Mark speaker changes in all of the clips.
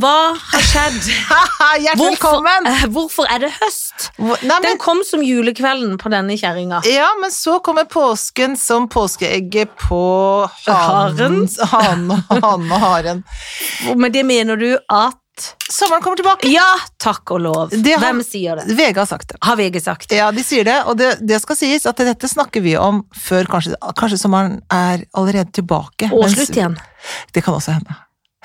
Speaker 1: Hva har skjedd?
Speaker 2: Haha, Hjertelig
Speaker 1: Hvorfor,
Speaker 2: velkommen!
Speaker 1: eh, hvorfor er det høst?
Speaker 2: Hvor- Nei,
Speaker 1: Den
Speaker 2: men,
Speaker 1: kom som julekvelden på denne kjerringa.
Speaker 2: ja, men så kommer påsken som påskeegget på hanen. Hanen og hanen og haren.
Speaker 1: Og Med det mener du at
Speaker 2: Sommeren kommer tilbake.
Speaker 1: Ja, takk og lov.
Speaker 2: Det har-
Speaker 1: Hvem sier det?
Speaker 2: VG har sagt det.
Speaker 1: Har VG sagt.
Speaker 2: Ja, de sier det, og det, det skal sies at dette snakker vi om før kanskje, kanskje sommeren er allerede tilbake.
Speaker 1: Og
Speaker 2: mens-
Speaker 1: slutt igjen.
Speaker 2: Det kan også hende.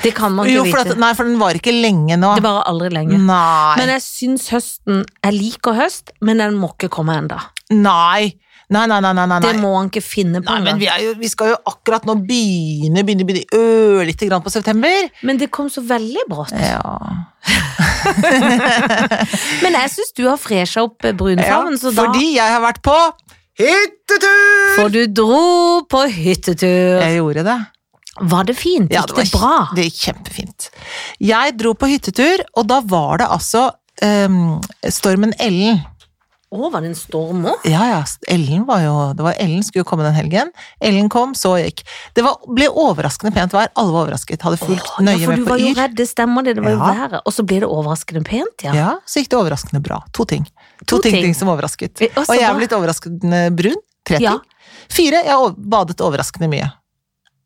Speaker 1: Det kan man ikke
Speaker 2: Jo, for, at,
Speaker 1: vite.
Speaker 2: nei, for den var ikke lenge nå.
Speaker 1: Det varer aldri lenge.
Speaker 2: Nei.
Speaker 1: Men jeg syns høsten Jeg liker høst, men den må ikke komme enda
Speaker 2: nei. Nei, nei, nei, nei, nei.
Speaker 1: Det må han ikke finne på.
Speaker 2: Nei, men
Speaker 1: engang.
Speaker 2: vi, er jo, vi skal jo akkurat nå begynne, begynne, begynne ørlite grann på september.
Speaker 1: Men det kom så veldig brått.
Speaker 2: Ja.
Speaker 1: Men jeg syns du har fresha opp eh, brunfargen, så da
Speaker 2: Fordi jeg har vært på hyttetur!
Speaker 1: For du dro på hyttetur.
Speaker 2: Jeg gjorde det.
Speaker 1: Var det fint?
Speaker 2: Ja,
Speaker 1: Gikk det
Speaker 2: var-
Speaker 1: bra?
Speaker 2: Det gikk kjempefint. Jeg dro på hyttetur, og da var det altså ehm, stormen Ellen.
Speaker 1: Å, var det en storm òg?
Speaker 2: Ja, ja, Ellen var jo Det var Ellen skulle jo komme den helgen. Ellen kom, så gikk. Det var, ble overraskende pent vær. Alle var overrasket. Hadde fulgt
Speaker 1: Ja,
Speaker 2: nøye
Speaker 1: for
Speaker 2: med
Speaker 1: du
Speaker 2: på
Speaker 1: var jo
Speaker 2: Yr.
Speaker 1: redd, det stemmer det. Det var jo
Speaker 2: Ja.
Speaker 1: været. Og så ble det overraskende pent, ja.
Speaker 2: Ja, så gikk det overraskende bra. To ting. To,
Speaker 1: To
Speaker 2: ting,
Speaker 1: ting.
Speaker 2: ting som overrasket.
Speaker 1: Eh, og så
Speaker 2: Og jeg
Speaker 1: bra.
Speaker 2: er blitt overraskende brun. Tre
Speaker 1: Ja.
Speaker 2: ting. Fire, jeg o- badet overraskende mye.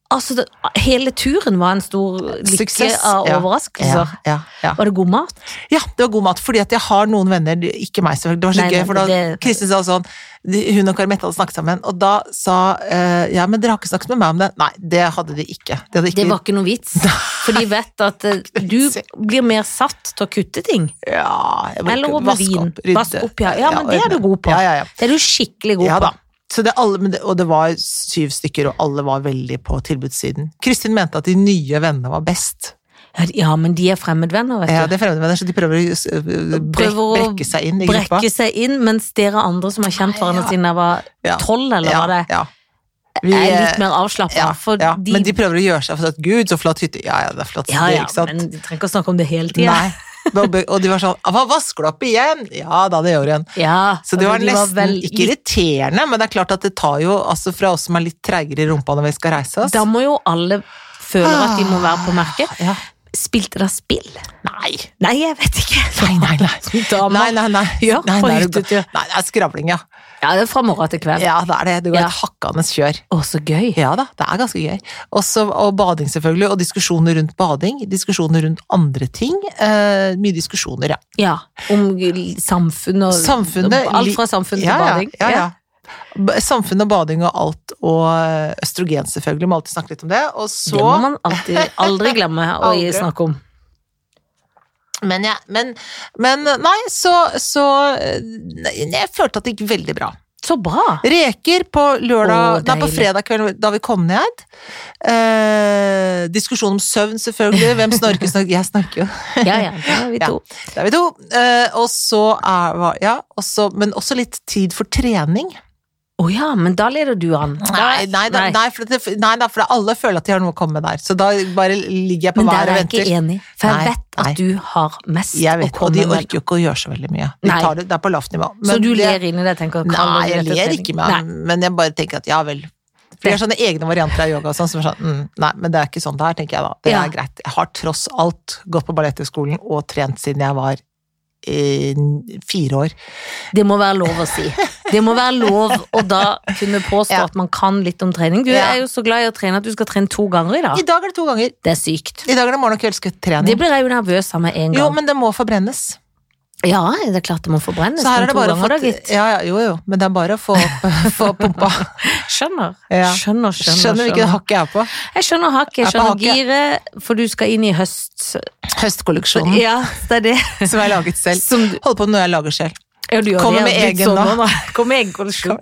Speaker 1: Altså, det, hele turen var en stor lykke
Speaker 2: Suksess,
Speaker 1: av
Speaker 2: ja. Ja,
Speaker 1: overraskelser.
Speaker 2: ja, ja.
Speaker 1: Var det god mat?
Speaker 2: Ja, det var god mat, fordi at jeg har noen venner, de- ikke meg selvfølgelig, det var så
Speaker 1: Nei,
Speaker 2: gøy,
Speaker 1: nei,
Speaker 2: for da
Speaker 1: det-
Speaker 2: Kristin sa sånn, de- hun og Karimette hadde snakket sammen, og da sa, eh, ja, men dere har ikke snakket med meg om det. Nei, det hadde de ikke. De hadde ikke
Speaker 1: Det var ikke noe vits. For de vet at eh, du blir mer satt til å kutte ting.
Speaker 2: ja, jeg var
Speaker 1: Eller
Speaker 2: ikke-
Speaker 1: over
Speaker 2: vaske
Speaker 1: vin.
Speaker 2: rydde.
Speaker 1: Vaske opp, ja. Ja, men
Speaker 2: og
Speaker 1: det er
Speaker 2: ordne.
Speaker 1: du god på.
Speaker 2: Ja, ja, ja.
Speaker 1: Det er du skikkelig god
Speaker 2: Ja da.
Speaker 1: på.
Speaker 2: Så det alle, men det, og det var syv stykker, og alle var veldig på tilbudssiden. Kristin mente at de nye vennene var best.
Speaker 1: Ja, de- Ja, men de er fremmedvenner, vet du.
Speaker 2: Ja, det er fremmede venner, så de prøver å øh, brek-
Speaker 1: Prøver å
Speaker 2: brekke seg inn i gruppa.
Speaker 1: Brekke seg inn, mens dere andre som har kjent hverandre
Speaker 2: Ja.
Speaker 1: siden jeg var
Speaker 2: Ja.
Speaker 1: tolv, eller
Speaker 2: Ja,
Speaker 1: var det,
Speaker 2: ja. Vi,
Speaker 1: er
Speaker 2: eh,
Speaker 1: litt mer avslappa.
Speaker 2: Ja,
Speaker 1: for
Speaker 2: ja.
Speaker 1: de
Speaker 2: Men de prøver å gjøre seg for at Gud, så flott hytte. Ja, ja, det er flott.
Speaker 1: Ja,
Speaker 2: det,
Speaker 1: ja,
Speaker 2: ikke sant?
Speaker 1: men de trenger ikke å snakke om det hele tida.
Speaker 2: Nei. Og be- Og de var sånn Hva vasker du opp igjen? Ja da, det gjør hun.
Speaker 1: Ja,
Speaker 2: Så det
Speaker 1: altså,
Speaker 2: var
Speaker 1: de
Speaker 2: nesten
Speaker 1: vel-
Speaker 2: ikke irriterende, men det er klart at det tar jo altså fra oss som er litt treigere i rumpa når vi skal reise oss.
Speaker 1: Da må jo alle føle at de må være på merket.
Speaker 2: Ah, Ja.
Speaker 1: Spilte dere spill?
Speaker 2: Nei.
Speaker 1: Nei, jeg vet ikke.
Speaker 2: Nei, nei, nei.
Speaker 1: Damer.
Speaker 2: Nei, nei, nei.
Speaker 1: Ja,
Speaker 2: nei,
Speaker 1: på
Speaker 2: nei, er du
Speaker 1: hyttetur.
Speaker 2: gal- nei, det er skravling, ja.
Speaker 1: Ja, det er fra morgen til kveld. Å,
Speaker 2: Ja, det er det. Det går
Speaker 1: Ja.
Speaker 2: et hakkende kjør.
Speaker 1: så gøy.
Speaker 2: Ja da, det er ganske gøy. Også, og bading, selvfølgelig. Og diskusjoner rundt bading. Diskusjoner rundt andre ting. Eh, mye diskusjoner, ja.
Speaker 1: Ja, Om samfunn og
Speaker 2: Samfunnet,
Speaker 1: Alt fra samfunn til
Speaker 2: Ja, ja,
Speaker 1: bading.
Speaker 2: Ja, ja. B- Samfunn og bading og alt, og eh, østrogen selvfølgelig, må alltid snakke litt om det. Og så
Speaker 1: Det må man alltid, aldri glemme å
Speaker 2: Aldri.
Speaker 1: snakke om.
Speaker 2: men, jeg- men, men nei, så, så nei, Jeg følte at det gikk veldig bra.
Speaker 1: Så bra!
Speaker 2: Reker på lørdag
Speaker 1: Å,
Speaker 2: Nei, på
Speaker 1: deilig.
Speaker 2: fredag kveld da vi kom ned. Eh, diskusjon om søvn, selvfølgelig. Hvem snorker? snorker? Jeg snorker jo.
Speaker 1: Ja, ja, det er vi
Speaker 2: Ja.
Speaker 1: to.
Speaker 2: Det er vi to. Eh, og så er var- Ja, og så- men også litt tid for trening.
Speaker 1: Å ja, men da leder du an. Da-
Speaker 2: Nei, nei, da, nei, for det, nei da, for alle føler at de har noe å komme med der. Så da bare ligger jeg på
Speaker 1: Men der
Speaker 2: været
Speaker 1: er jeg
Speaker 2: og
Speaker 1: ikke
Speaker 2: venter.
Speaker 1: enig, for jeg
Speaker 2: Nei,
Speaker 1: vet at
Speaker 2: nei.
Speaker 1: du har mest
Speaker 2: Jeg
Speaker 1: å
Speaker 2: vet, og
Speaker 1: komme
Speaker 2: de
Speaker 1: med.
Speaker 2: orker jo ikke å gjøre så veldig mye. De
Speaker 1: Nei.
Speaker 2: tar det, det er på lavt nivå.
Speaker 1: Så
Speaker 2: Men
Speaker 1: du
Speaker 2: det-
Speaker 1: ler inni deg tenker
Speaker 2: Nei,
Speaker 1: kaller
Speaker 2: jeg
Speaker 1: du dette
Speaker 2: ler
Speaker 1: trening?
Speaker 2: ikke, men, men jeg bare tenker at ja vel. For det er sånne egne varianter av yoga og sånn, som er sånn mm, Nei, men det er ikke sånn det er, tenker jeg da. Det
Speaker 1: Ja.
Speaker 2: er greit. Jeg har tross alt gått på balletthøgskolen og trent siden jeg var eh, fire år.
Speaker 1: Nei, det må være lov å si. Det må være lov å da kunne påstå
Speaker 2: Ja.
Speaker 1: at man kan litt om trening. Du
Speaker 2: Ja.
Speaker 1: er jo så glad i å trene at du skal trene to ganger i dag.
Speaker 2: I dag er det to ganger.
Speaker 1: Det er sykt.
Speaker 2: I dag er det morgen- og kveldskveldtrening.
Speaker 1: Det blir jeg jo nervøs av med en gang.
Speaker 2: Jo, men det må forbrennes.
Speaker 1: Ja, det er klart det må forbrennes,
Speaker 2: Så her
Speaker 1: men
Speaker 2: er
Speaker 1: to
Speaker 2: det bare å
Speaker 1: ganger da,
Speaker 2: få
Speaker 1: gitt.
Speaker 2: ja, ja, Jo, jo, men det er bare å få, få pumpa.
Speaker 1: Skjønner.
Speaker 2: Ja.
Speaker 1: Skjønner, skjønner,
Speaker 2: Skjønner ikke det hakket jeg er på.
Speaker 1: Jeg skjønner hakket, jeg
Speaker 2: Jeg er på
Speaker 1: skjønner giret, for du skal inn i høst.
Speaker 2: Høstkolleksjonen
Speaker 1: Ja, det er det.
Speaker 2: som jeg laget selv.
Speaker 1: Som du-
Speaker 2: Holder på med noe jeg lager selv.
Speaker 1: Ja, du gjør
Speaker 2: Kommer
Speaker 1: det,
Speaker 2: med
Speaker 1: ja. Blitt sånn
Speaker 2: egen
Speaker 1: sommer
Speaker 2: nå.
Speaker 1: Kommer med egen kolleksjon.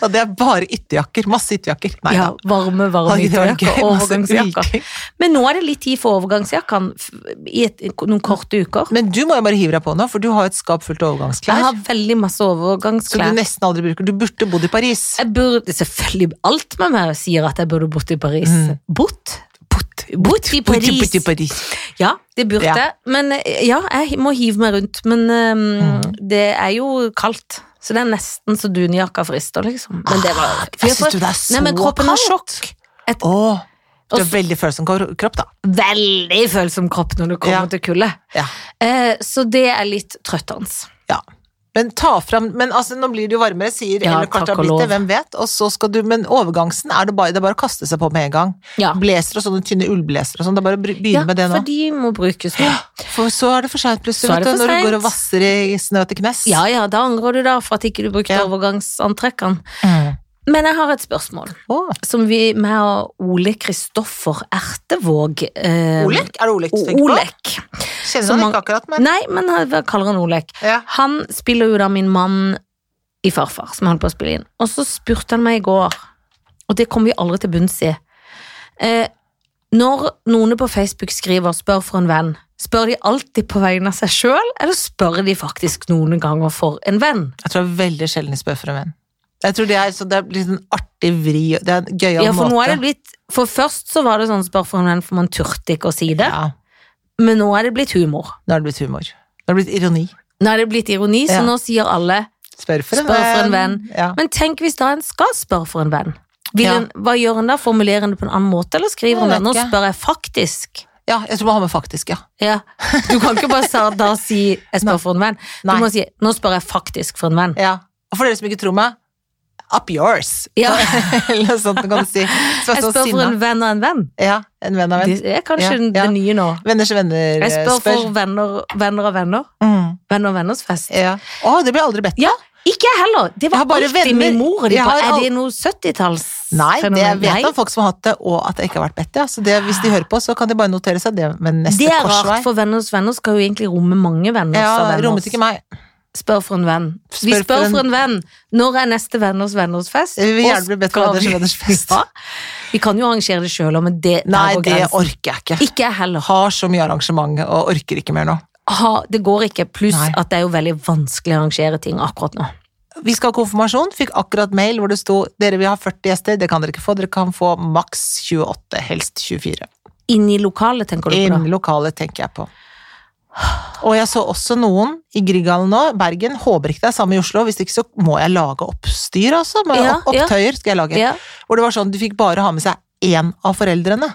Speaker 2: Og det er bare ytterjakker. Masse ytterjakker. Nei
Speaker 1: Ja,
Speaker 2: da.
Speaker 1: varme, varme
Speaker 2: Hadde det vært
Speaker 1: ytterjakker
Speaker 2: gøy?
Speaker 1: og
Speaker 2: Masse
Speaker 1: overgangsjakker. Men nå er det litt tid for overgangsjakkene f- i et, i noen korte uker.
Speaker 2: Men du må jo bare hive deg på nå, for du har jo et skap fullt av
Speaker 1: Jeg
Speaker 2: overgangsklær.
Speaker 1: har veldig masse
Speaker 2: Som du
Speaker 1: overgangsklær.
Speaker 2: nesten aldri bruker. Du burde bodd i Paris.
Speaker 1: Jeg burde, selvfølgelig Alt med meg sier at jeg burde bort i Paris.
Speaker 2: Mm.
Speaker 1: Bort?
Speaker 2: Bort,
Speaker 1: Bort i
Speaker 2: bort,
Speaker 1: Paris.
Speaker 2: bort i Paris.
Speaker 1: Ja, det burde
Speaker 2: Ja.
Speaker 1: jeg. Men eh, ja, jeg må hive meg rundt. Men eh,
Speaker 2: Mm.
Speaker 1: det er jo kaldt. Så det er nesten så dunjakka frister, liksom. Men det var
Speaker 2: Jeg syns Ah, du det er så
Speaker 1: Nei, men kroppen har
Speaker 2: kaldt.
Speaker 1: sjokk.
Speaker 2: Å, Du
Speaker 1: Og
Speaker 2: er
Speaker 1: så-
Speaker 2: veldig følsom kor- kropp, da.
Speaker 1: Veldig følsom kropp når du kommer
Speaker 2: Ja.
Speaker 1: til kulde.
Speaker 2: Ja.
Speaker 1: Eh, så det er litt trøttende.
Speaker 2: Ja. Men ta fram Men altså, nå blir det jo varmere, sier
Speaker 1: Ja,
Speaker 2: Ellen Carter
Speaker 1: takk og lov.
Speaker 2: Blitte, hvem vet? Og så skal du Men overgangsen er det bare, det er bare å kaste seg på med en gang.
Speaker 1: Ja.
Speaker 2: Blazer og sånne tynne ullblazere og sånn, det er bare å bry- begynne
Speaker 1: Ja,
Speaker 2: med det nå.
Speaker 1: for de må brukes nå.
Speaker 2: For så er det for seint plutselig,
Speaker 1: Så er
Speaker 2: vet
Speaker 1: det
Speaker 2: du,
Speaker 1: for
Speaker 2: når du går
Speaker 1: sent.
Speaker 2: og vasser i snø til knes.
Speaker 1: Ja ja, da angrer du da for at ikke du brukte
Speaker 2: Ja.
Speaker 1: overgangsantrekkene.
Speaker 2: Mm.
Speaker 1: Men jeg har et spørsmål
Speaker 2: Å,
Speaker 1: som vi med og Ole Kristoffer Ertevåg eh,
Speaker 2: Olek? Er det Olek du tenker på?
Speaker 1: Olek.
Speaker 2: Kjenner
Speaker 1: som
Speaker 2: han
Speaker 1: man-
Speaker 2: ikke akkurat, men
Speaker 1: Nei, men jeg kaller han Olek.
Speaker 2: ja.
Speaker 1: Han spiller jo da min mann i Farfar, som jeg holdt på å spille inn. Og så spurte han meg i går, og det kommer vi aldri til bunns i. Eh, når noen på Facebook skriver 'spør for en venn', spør de alltid på vegne av seg sjøl, eller spør de faktisk noen ganger for en venn?
Speaker 2: Jeg tror det er veldig sjelden de spør for en venn. Jeg tror det er, så det er litt en artig vri, det er en gøyal
Speaker 1: Ja, for nå er
Speaker 2: måte.
Speaker 1: det blitt For først så var det sånn 'spør for en venn', for man turte ikke å si det,
Speaker 2: Ja,
Speaker 1: men nå er det blitt humor.
Speaker 2: nå er det blitt humor. Nå er det blitt ironi.
Speaker 1: Nå er det blitt ironi, så
Speaker 2: Ja.
Speaker 1: nå sier alle
Speaker 2: Spør for en
Speaker 1: Spør for en venn.
Speaker 2: Ja.
Speaker 1: Men tenk hvis da en skal spørre for en venn. Vil
Speaker 2: Ja.
Speaker 1: en, hva gjør en da? Formulerer en det på en annen måte, eller skriver en
Speaker 2: Jeg
Speaker 1: det?
Speaker 2: vet
Speaker 1: Nå
Speaker 2: ikke.
Speaker 1: spør jeg faktisk.
Speaker 2: ja, jeg tror man har med faktisk, ja.
Speaker 1: Ja. Du kan ikke bare sa, da si 'jeg spør for en venn'. Du
Speaker 2: Nei.
Speaker 1: må si 'nå spør jeg faktisk for en venn'.
Speaker 2: Ja. Og for dere som ikke tror meg, up yours.
Speaker 1: Ja.
Speaker 2: Eller noe sånt, kan du si. Så
Speaker 1: Jeg
Speaker 2: så
Speaker 1: spør for
Speaker 2: sinna.
Speaker 1: en venn av en venn.
Speaker 2: Ja, en venn av venn.
Speaker 1: Det er kanskje
Speaker 2: Ja, ja.
Speaker 1: det nye nå.
Speaker 2: Venners venner
Speaker 1: Jeg
Speaker 2: eh,
Speaker 1: spør for venner, venner av venner.
Speaker 2: Mm,
Speaker 1: Venner av venners fest.
Speaker 2: ja. Å, det blir jeg aldri bedt om.
Speaker 1: Ja, ikke jeg heller. Det
Speaker 2: Jeg har
Speaker 1: var
Speaker 2: bare
Speaker 1: alltid
Speaker 2: venner.
Speaker 1: min mor. og De
Speaker 2: Jeg
Speaker 1: bare,
Speaker 2: har
Speaker 1: er
Speaker 2: al-
Speaker 1: det noe 70-talls?
Speaker 2: Nei, det jeg vet
Speaker 1: Nei.
Speaker 2: om folk som har hatt det, og at jeg ikke har vært bedt. Ja. Så det, hvis de hører på, så kan de bare notere seg det ved neste
Speaker 1: Det er
Speaker 2: korsvei.
Speaker 1: rart, for venners venner skal jo egentlig romme mange venner.
Speaker 2: ja, rommet ikke meg.
Speaker 1: Spør for en venn. vi
Speaker 2: Spør
Speaker 1: spør
Speaker 2: for en-
Speaker 1: for en venn. Når er neste venners venners fest?
Speaker 2: Jeg vil
Speaker 1: Og
Speaker 2: gjerne bli bedt
Speaker 1: skal
Speaker 2: for Anders
Speaker 1: vi-
Speaker 2: Veders fest.
Speaker 1: Ja. Vi kan jo arrangere det sjøl, men det der
Speaker 2: Nei,
Speaker 1: går
Speaker 2: det
Speaker 1: grensen.
Speaker 2: orker jeg ikke.
Speaker 1: Ikke jeg heller.
Speaker 2: Har så mye arrangement og orker ikke mer nå.
Speaker 1: Ha, det går ikke. Pluss
Speaker 2: Nei.
Speaker 1: at det er jo veldig vanskelig å arrangere ting akkurat nå.
Speaker 2: Vi skal ha konfirmasjon. Fikk akkurat mail hvor det sto dere vil ha 40 gjester, det kan dere ikke få. Dere kan få maks 28, helst 24.
Speaker 1: Inn i lokalet, tenker du på da?
Speaker 2: Innen lokalet tenker jeg på. Og jeg så også noen i Grieghallen nå, Bergen. Håper ikke det er samme i Oslo. Hvis ikke så må jeg lage oppstyr, altså. Med
Speaker 1: Ja,
Speaker 2: opp- opptøyer skal jeg lage.
Speaker 1: Ja.
Speaker 2: Hvor det var sånn, du fikk bare ha med seg én av foreldrene.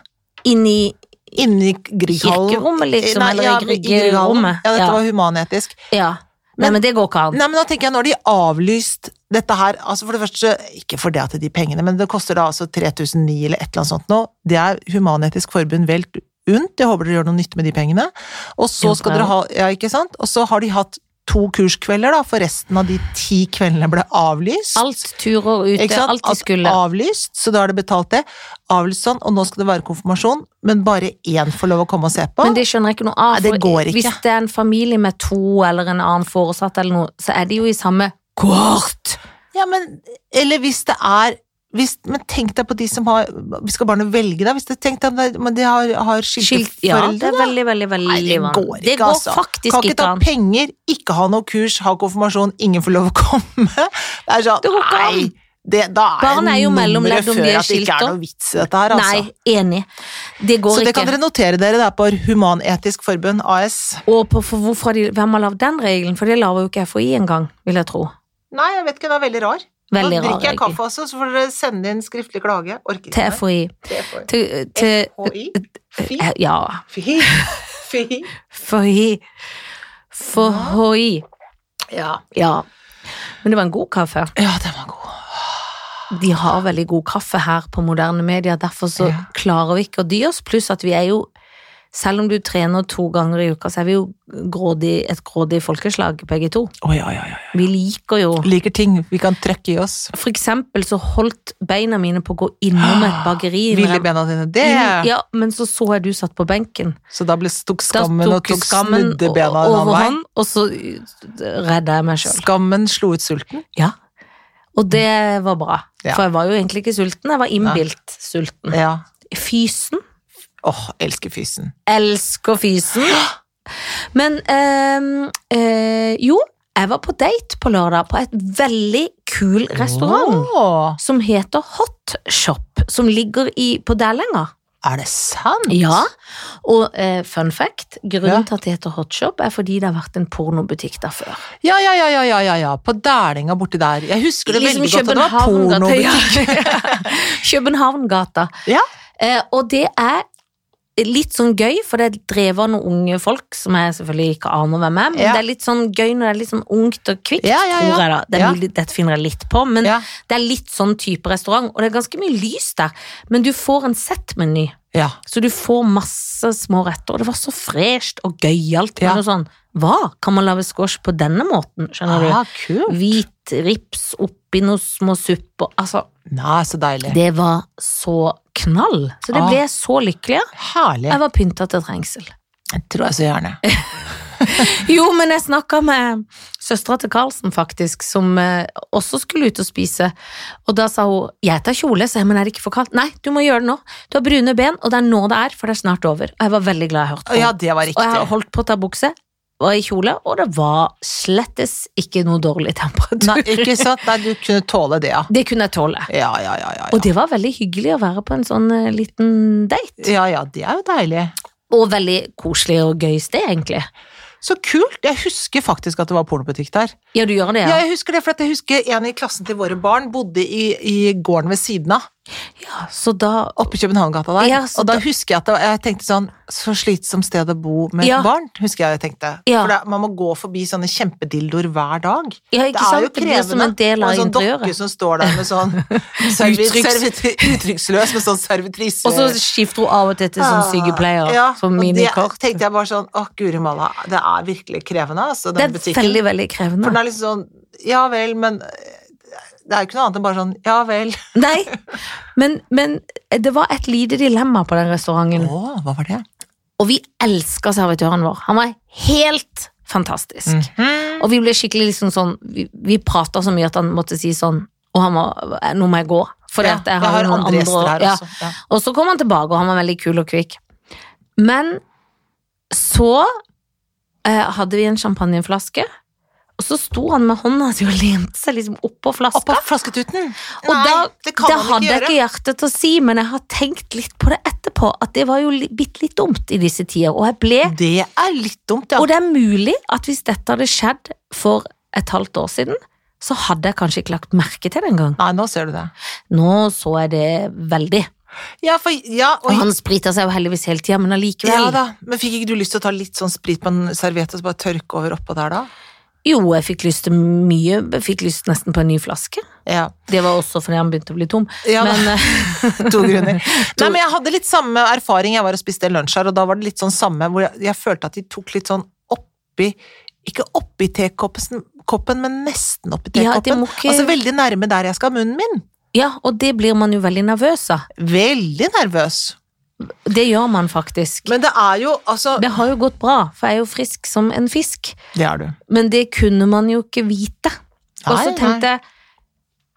Speaker 1: Inn i
Speaker 2: Inni Grieghallen.
Speaker 1: Kirkerommet, liksom,
Speaker 2: Nei,
Speaker 1: eller i
Speaker 2: ja,
Speaker 1: Grieghallen.
Speaker 2: Grieghallen. Ja, dette
Speaker 1: Ja.
Speaker 2: var humanetisk.
Speaker 1: Ja. Nei,
Speaker 2: Men-
Speaker 1: men det går ikke an.
Speaker 2: Nei, men nå tenker jeg, nå har de avlyst dette her, altså for det første, ikke for det at de pengene, men det koster da altså 3009 eller et eller annet sånt nå. Det er Human-Etisk Forbund velt unt, jeg håper dere gjør noe nytte med de pengene. Og så
Speaker 1: Jo,
Speaker 2: skal
Speaker 1: bra.
Speaker 2: dere ha, ja ikke sant, og så har de hatt to kurskvelder da, for resten av de ti kveldene ble avlyst.
Speaker 1: Alt turer
Speaker 2: Ikke
Speaker 1: ute,
Speaker 2: sant?
Speaker 1: alt de skulle.
Speaker 2: Avlyst, så da har de betalt det. Avlyst sånn, og nå skal det være konfirmasjon, men bare én får lov å komme og se på.
Speaker 1: Men det skjønner jeg ikke noe av.
Speaker 2: Nei, det
Speaker 1: for
Speaker 2: går ikke.
Speaker 1: Hvis det er en familie med to eller en annen foresatt eller noe, så er de jo i samme kort.
Speaker 2: Ja, men Eller hvis det er hvis, Men tenk deg på de som har Skal barnet velge, da? Hvis det, tenk deg om det, men de har, har skilte
Speaker 1: Skilt, ja, det
Speaker 2: foreldre,
Speaker 1: er
Speaker 2: da?
Speaker 1: veldig, veldig, veldig
Speaker 2: Nei, det
Speaker 1: vanlig.
Speaker 2: går ikke,
Speaker 1: det går
Speaker 2: altså.
Speaker 1: faktisk
Speaker 2: Kan ikke
Speaker 1: ikke
Speaker 2: ta
Speaker 1: an.
Speaker 2: penger, ikke ha noe kurs, ha konfirmasjon, ingen får lov å komme. Det er sånn,
Speaker 1: Det går ikke an.
Speaker 2: nei, det, da er
Speaker 1: Barn er jo
Speaker 2: nummeret
Speaker 1: mellomledd om de
Speaker 2: før
Speaker 1: er
Speaker 2: at det ikke
Speaker 1: skilt,
Speaker 2: er
Speaker 1: da.
Speaker 2: noe vits i dette her, altså.
Speaker 1: Nei, enig. Det går
Speaker 2: Så det
Speaker 1: ikke.
Speaker 2: kan dere notere dere der på Human-Etisk Forbund, AS.
Speaker 1: Og på, for hvorfor har de, hvem har lagd den regelen? For det lager jo ikke FHI engang, vil jeg tro.
Speaker 2: Nei, jeg vet ikke, det er veldig rar.
Speaker 1: Veldig
Speaker 2: Nå
Speaker 1: rar
Speaker 2: drikker jeg
Speaker 1: regel.
Speaker 2: kaffe også, så får dere sende inn skriftlig klage. Orker ikke
Speaker 1: Til
Speaker 2: mer.
Speaker 1: FHI.
Speaker 2: TFHI.
Speaker 1: Til, til
Speaker 2: HI? Fy?
Speaker 1: eh, Ja.
Speaker 2: Fy? Fy?
Speaker 1: FHI. FHI.
Speaker 2: Ja.
Speaker 1: Ja. Men det var en god kaffe.
Speaker 2: Ja, den var god.
Speaker 1: De har veldig god kaffe her på moderne media, derfor så
Speaker 2: Ja.
Speaker 1: klarer vi ikke å dy oss. Pluss at vi er jo, selv om du trener to ganger i uka, så er vi jo grådig, et grådig folkeslag, begge to.
Speaker 2: Oi, oi, oi, oi.
Speaker 1: Vi liker jo
Speaker 2: Liker ting vi kan trøkke i oss.
Speaker 1: For eksempel så holdt beina mine på å gå innom et bakeri. når
Speaker 2: Hvile i
Speaker 1: jeg-
Speaker 2: bena dine. Det!
Speaker 1: Mm, Ja, men så så jeg du satt på benken.
Speaker 2: Så da ble, tok
Speaker 1: Da
Speaker 2: skammen og
Speaker 1: jo
Speaker 2: tok snudde
Speaker 1: o-
Speaker 2: bena en annen vei.
Speaker 1: overhånd, og så eh, redda jeg meg sjøl.
Speaker 2: Skammen slo ut sulten.
Speaker 1: Ja. Og det var bra,
Speaker 2: Ja.
Speaker 1: for jeg var jo egentlig ikke sulten, jeg var innbilt sulten.
Speaker 2: Ja.
Speaker 1: Fysen
Speaker 2: Åh, elsker fysen.
Speaker 1: Elsker fysen. Men ehm, eh, jo, jeg var på date på lørdag på et veldig kul restaurant
Speaker 2: Åh,
Speaker 1: som heter Hot Shop, som ligger i, på Dælenga.
Speaker 2: er det sant?
Speaker 1: Ja, og eh, fun fact,
Speaker 2: Ja.
Speaker 1: grunnen til at det heter Hot Shop er fordi det har vært en pornobutikk der før.
Speaker 2: Ja, ja, ja, ja, ja, ja, ja. På Dælinga borti der.
Speaker 1: Liksom
Speaker 2: Jeg husker det veldig godt, og det var
Speaker 1: København-gata,
Speaker 2: porno.
Speaker 1: ja. Københavngata.
Speaker 2: Ja.
Speaker 1: Eh, og det er litt sånn gøy, for det er drevet av noen unge folk som jeg selvfølgelig ikke aner hvem er, men
Speaker 2: Ja.
Speaker 1: det er litt sånn gøy når det er litt sånn ungt og kvikt,
Speaker 2: Ja, ja, ja.
Speaker 1: tror jeg da. Det er
Speaker 2: Ja.
Speaker 1: mulig- Dette finner jeg litt på, men
Speaker 2: Ja.
Speaker 1: det er litt sånn type restaurant, og det er ganske mye lys der, men du får en settmeny,
Speaker 2: Ja.
Speaker 1: så du får masse små retter, og det var så fresht og gøyalt,
Speaker 2: Ja.
Speaker 1: men noe sånn, hva kan man lage squash på denne måten, skjønner du?
Speaker 2: Ah, kult.
Speaker 1: Hvit rips oppi noen små supper, altså,
Speaker 2: Nei, så deilig.
Speaker 1: det var så knall, så det
Speaker 2: Ah.
Speaker 1: ble jeg så lykkelig av.
Speaker 2: Herlig.
Speaker 1: Jeg var pynta til trengsel.
Speaker 2: Det tror jeg så gjerne.
Speaker 1: Jo, men jeg snakka med søstera til Karlsen, faktisk, som eh, også skulle ut og spise. Og da sa hun 'jeg tar kjole', sa jeg, men er det ikke for kaldt? Nei, du må gjøre det nå. Du har brune ben, og det er nå det er, for det er snart over. Og jeg var veldig glad jeg hørte på.
Speaker 2: Å Ja, det var
Speaker 1: og jeg har
Speaker 2: riktig.
Speaker 1: holdt på å ta bukse, var i kjole, og det var slettes ikke noe dårlig temperatur.
Speaker 2: Nei, ikke sant? Nei, du kunne tåle det, ja.
Speaker 1: Det kunne jeg tåle.
Speaker 2: Ja, ja, ja. Ja,
Speaker 1: Og
Speaker 2: ja.
Speaker 1: det var veldig hyggelig å være på en sånn eh, liten date.
Speaker 2: ja, ja det er jo deilig.
Speaker 1: Og veldig koselig og gøy sted, egentlig.
Speaker 2: Så kult! Jeg husker faktisk at det var pornobutikk der.
Speaker 1: Ja, du gjør det,
Speaker 2: Ja,
Speaker 1: ja?
Speaker 2: jeg husker det, for at jeg husker en i klassen til våre barn bodde i, i gården ved siden av,
Speaker 1: ja så da
Speaker 2: oppe i Københavngata der.
Speaker 1: Ja, så
Speaker 2: og da
Speaker 1: da-
Speaker 2: husker jeg at det, var- jeg tenkte sånn, så slitsomt sted å bo med
Speaker 1: Ja.
Speaker 2: barn, husker jeg jeg tenkte.
Speaker 1: Ja.
Speaker 2: For det, man må gå forbi sånne kjempedildoer hver dag.
Speaker 1: Ja,
Speaker 2: Det
Speaker 1: ikke
Speaker 2: er
Speaker 1: sant?
Speaker 2: jo
Speaker 1: Det blir som
Speaker 2: krevende.
Speaker 1: en del
Speaker 2: og
Speaker 1: av
Speaker 2: en sånn dokke
Speaker 1: interiøret.
Speaker 2: som står der med sånn servit,
Speaker 1: Uttrykks-
Speaker 2: servit, uttrykksløs med sånn servitrise.
Speaker 1: Og så skifter hun av og til til sånn sykepleier.
Speaker 2: Ah, Ja,
Speaker 1: som
Speaker 2: og
Speaker 1: minikort.
Speaker 2: Det tenkte jeg bare sånn, å guri malla, det er virkelig krevende, altså,
Speaker 1: Det er
Speaker 2: den butikken.
Speaker 1: veldig, veldig
Speaker 2: For
Speaker 1: krevende.
Speaker 2: den er liksom sånn Ja vel, men Det er jo ikke noe annet enn bare sånn Ja vel.
Speaker 1: Nei, men, men eh, det var et lite dilemma på den restauranten.
Speaker 2: hva var det?
Speaker 1: Og vi elska servitøren vår. Han var helt fantastisk.
Speaker 2: Mhm.
Speaker 1: Og vi ble skikkelig liksom sånn Vi, vi prata så mye at han måtte si sånn Og han var Nå må jeg gå. Fordi
Speaker 2: Ja,
Speaker 1: at jeg har, noen andre,
Speaker 2: gjester her
Speaker 1: ja.
Speaker 2: også. Ja.
Speaker 1: Og så kom han tilbake, og han var veldig kul og kvikk. Men så eh, hadde vi en champagneflaske, og så sto han med hånda si og lente seg liksom oppå
Speaker 2: Oppå
Speaker 1: flaska.
Speaker 2: flasketuten!
Speaker 1: Og
Speaker 2: Nei,
Speaker 1: da-
Speaker 2: det kan
Speaker 1: det
Speaker 2: man
Speaker 1: hadde
Speaker 2: ikke
Speaker 1: jeg
Speaker 2: gjøre.
Speaker 1: ikke hjerte til å si, men jeg har tenkt litt på det etterpå, at det var jo li- bitte litt dumt i disse tider, og jeg ble
Speaker 2: Det er litt dumt, ja.
Speaker 1: Og det er mulig at hvis dette hadde skjedd for et halvt år siden, så hadde jeg kanskje ikke lagt merke til det engang.
Speaker 2: Nei, nå ser du det.
Speaker 1: Nå så jeg det veldig.
Speaker 2: Ja, for Ja,
Speaker 1: Og
Speaker 2: og
Speaker 1: han sprita seg jo heldigvis hele tida, men allikevel.
Speaker 2: ja da, men fikk ikke du lyst til å ta litt sånn sprit på en serviett og så bare tørke over oppå der, da?
Speaker 1: Jo, jeg fikk lyst til mye. Jeg fikk lyst nesten på en ny flaske.
Speaker 2: Ja.
Speaker 1: Det var også fordi han begynte å bli tom.
Speaker 2: Ja,
Speaker 1: men eh,
Speaker 2: to grunner. Nei, men jeg hadde litt samme erfaring. Jeg var og spiste lunsj her, og da var det litt sånn samme, hvor jeg, jeg følte at de tok litt sånn oppi Ikke oppi tekoppen, koppen, men nesten oppi
Speaker 1: Ja, de
Speaker 2: tekoppen.
Speaker 1: må ikke-
Speaker 2: Altså veldig nærme der jeg skal ha munnen min.
Speaker 1: ja, og det blir man jo veldig nervøs av.
Speaker 2: Veldig nervøs.
Speaker 1: Det gjør man faktisk.
Speaker 2: Men det er jo altså
Speaker 1: Det har jo gått bra, for jeg er jo frisk som en fisk.
Speaker 2: Det er du.
Speaker 1: Men det kunne man jo ikke vite. Og så
Speaker 2: Nei,
Speaker 1: tenkte jeg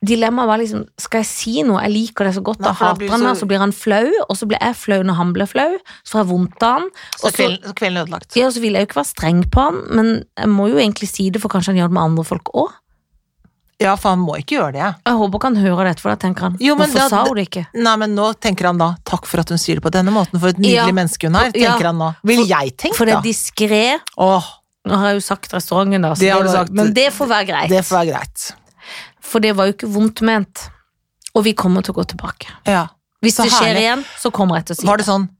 Speaker 1: Dilemmaet var liksom Skal jeg si noe? Jeg liker det så godt,
Speaker 2: Nei,
Speaker 1: da
Speaker 2: for da
Speaker 1: hater
Speaker 2: blir
Speaker 1: han
Speaker 2: så-
Speaker 1: meg, så blir han flau, og så blir jeg flau når han blir flau, så får jeg vondt av han.
Speaker 2: Så
Speaker 1: Og så,
Speaker 2: kvelden, så kvelden er ødelagt.
Speaker 1: Altså- ja, og så vil jeg jo ikke være streng på han, men jeg må jo egentlig si det, for kanskje han gjør det med andre folk òg.
Speaker 2: Ja, for han må ikke gjøre det.
Speaker 1: Jeg håper ikke han hører dette, for da tenker han
Speaker 2: Jo, men
Speaker 1: Hvorfor
Speaker 2: da-
Speaker 1: sa hun det ikke?
Speaker 2: Nei, men nå tenker han da 'takk for at hun sier det på denne måten', for et nydelig
Speaker 1: Ja.
Speaker 2: menneske hun er.
Speaker 1: Ja.
Speaker 2: Tenker han nå. Vil jeg tenke,
Speaker 1: For det
Speaker 2: da?
Speaker 1: er diskré.
Speaker 2: Åh,
Speaker 1: Nå har jeg jo sagt restauranten, da, så
Speaker 2: Det har du
Speaker 1: var-
Speaker 2: sagt.
Speaker 1: men det får være greit.
Speaker 2: det får være greit.
Speaker 1: For det var jo ikke vondt ment. Og vi kommer til å gå tilbake.
Speaker 2: Ja.
Speaker 1: Hvis
Speaker 2: Så
Speaker 1: det skjer
Speaker 2: herlig.
Speaker 1: igjen, så kommer jeg til å si
Speaker 2: Var det sånn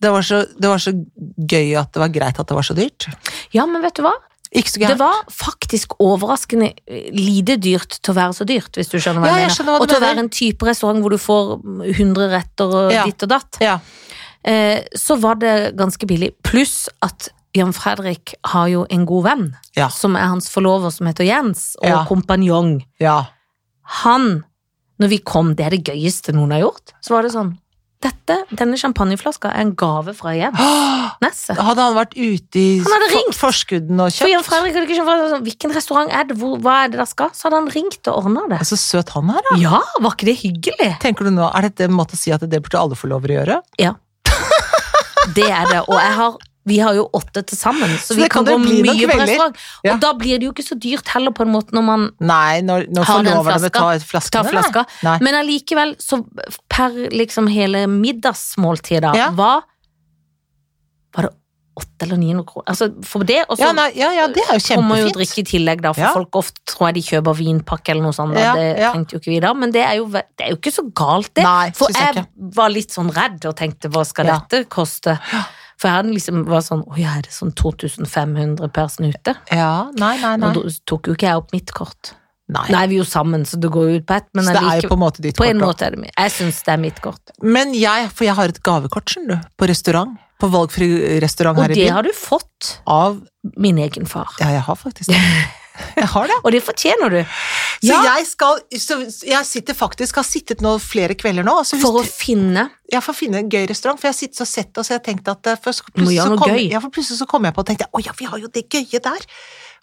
Speaker 2: det var, så, det var så gøy at det var greit at det var så dyrt.
Speaker 1: Ja, men vet du hva?
Speaker 2: Ikke så
Speaker 1: Det
Speaker 2: gærent.
Speaker 1: var faktisk overraskende eh, lite dyrt til å være så dyrt, hvis du skjønner hva
Speaker 2: Ja,
Speaker 1: jeg
Speaker 2: jeg
Speaker 1: mener.
Speaker 2: skjønner hva du
Speaker 1: og til å
Speaker 2: mener.
Speaker 1: være en type restaurant hvor du får mm, 100 retter og
Speaker 2: Ja.
Speaker 1: ditt og datt.
Speaker 2: Ja.
Speaker 1: Eh, så var det ganske billig. Pluss at Jan Fredrik har jo en god venn,
Speaker 2: Ja.
Speaker 1: som er hans forlover, som heter Jens, og
Speaker 2: Ja.
Speaker 1: kompanjong.
Speaker 2: ja.
Speaker 1: Han, når vi kom, det er det gøyeste noen har gjort, så var det sånn dette, denne champagneflaska er en gave fra Jens
Speaker 2: Åh,
Speaker 1: Nesset.
Speaker 2: Hadde han vært ute i
Speaker 1: Han hadde ringt.
Speaker 2: for- forskudden og
Speaker 1: For Jan
Speaker 2: kjøpt?
Speaker 1: Fredrik hadde ikke skjønt hva- sånn, hvilken restaurant er det, hvor, hva er det der skal? Så hadde han ringt og ordna det.
Speaker 2: Så søt han er, da.
Speaker 1: Ja, var ikke det hyggelig?
Speaker 2: Tenker du nå, Er dette en måte å si at det burde alle få lov til å gjøre?
Speaker 1: Det er det, og jeg har vi har jo åtte til sammen, så,
Speaker 2: Så
Speaker 1: vi
Speaker 2: det
Speaker 1: kan,
Speaker 2: kan jo
Speaker 1: gå
Speaker 2: bli noen
Speaker 1: mye på
Speaker 2: kvelder.
Speaker 1: restaurant.
Speaker 2: Ja.
Speaker 1: Og da blir det jo ikke så dyrt heller, på en måte, når man
Speaker 2: Nei, når, når
Speaker 1: Har den
Speaker 2: forloverne vil ta
Speaker 1: tar
Speaker 2: flaskene. nei.
Speaker 1: flaska.
Speaker 2: Nei.
Speaker 1: Men allikevel, så per liksom hele middagsmåltidet
Speaker 2: Ja.
Speaker 1: var Var det 800 eller 900 kroner. Altså for det, og så
Speaker 2: Ja, nei, ja, ja, det er jo
Speaker 1: kommer jo
Speaker 2: kjempefint.
Speaker 1: drikke i tillegg, da, for
Speaker 2: Ja.
Speaker 1: folk ofte tror jeg de kjøper vinpakke eller noe sånt. Da.
Speaker 2: Ja,
Speaker 1: det
Speaker 2: ja.
Speaker 1: trengte jo ikke vi da, men det er jo, ve- det er jo ikke så galt, det.
Speaker 2: Nei,
Speaker 1: for
Speaker 2: synes jeg
Speaker 1: jeg var litt sånn redd og tenkte hva skal
Speaker 2: Ja.
Speaker 1: dette koste? For jeg hadde liksom var sånn å ja, er det sånn 2500 per snute?
Speaker 2: Ja, nei, nei,
Speaker 1: Og
Speaker 2: nei.
Speaker 1: da tok jo ikke jeg opp mitt kort.
Speaker 2: nei.
Speaker 1: Nei, vi er jo sammen, så det går jo ut på ett, men
Speaker 2: så det er
Speaker 1: allikevel-
Speaker 2: jo på en måte ditt
Speaker 1: på en
Speaker 2: kort. da.
Speaker 1: måte er det mitt. Jeg syns det er mitt kort.
Speaker 2: Men jeg, for jeg har et gavekort, skjønner du, på restaurant. På valgfri restaurant
Speaker 1: Og
Speaker 2: her i
Speaker 1: det
Speaker 2: byen.
Speaker 1: har du fått,
Speaker 2: Av
Speaker 1: min egen far.
Speaker 2: Ja, jeg har faktisk det. Jeg har det.
Speaker 1: Og det fortjener du.
Speaker 2: Så
Speaker 1: Ja.
Speaker 2: jeg skal Så jeg sitter faktisk, har sittet nå flere kvelder nå, og så
Speaker 1: For å
Speaker 2: husker
Speaker 1: finne
Speaker 2: jeg får finne en gøy restaurant, for jeg har sittet og sett det, og så har jeg tenkt at eh, først,
Speaker 1: Du må
Speaker 2: plutselig,
Speaker 1: gjøre
Speaker 2: så
Speaker 1: noe
Speaker 2: kom,
Speaker 1: gøy.
Speaker 2: ja, for plutselig så kom jeg på og tenkte å ja, vi har jo det gøye der.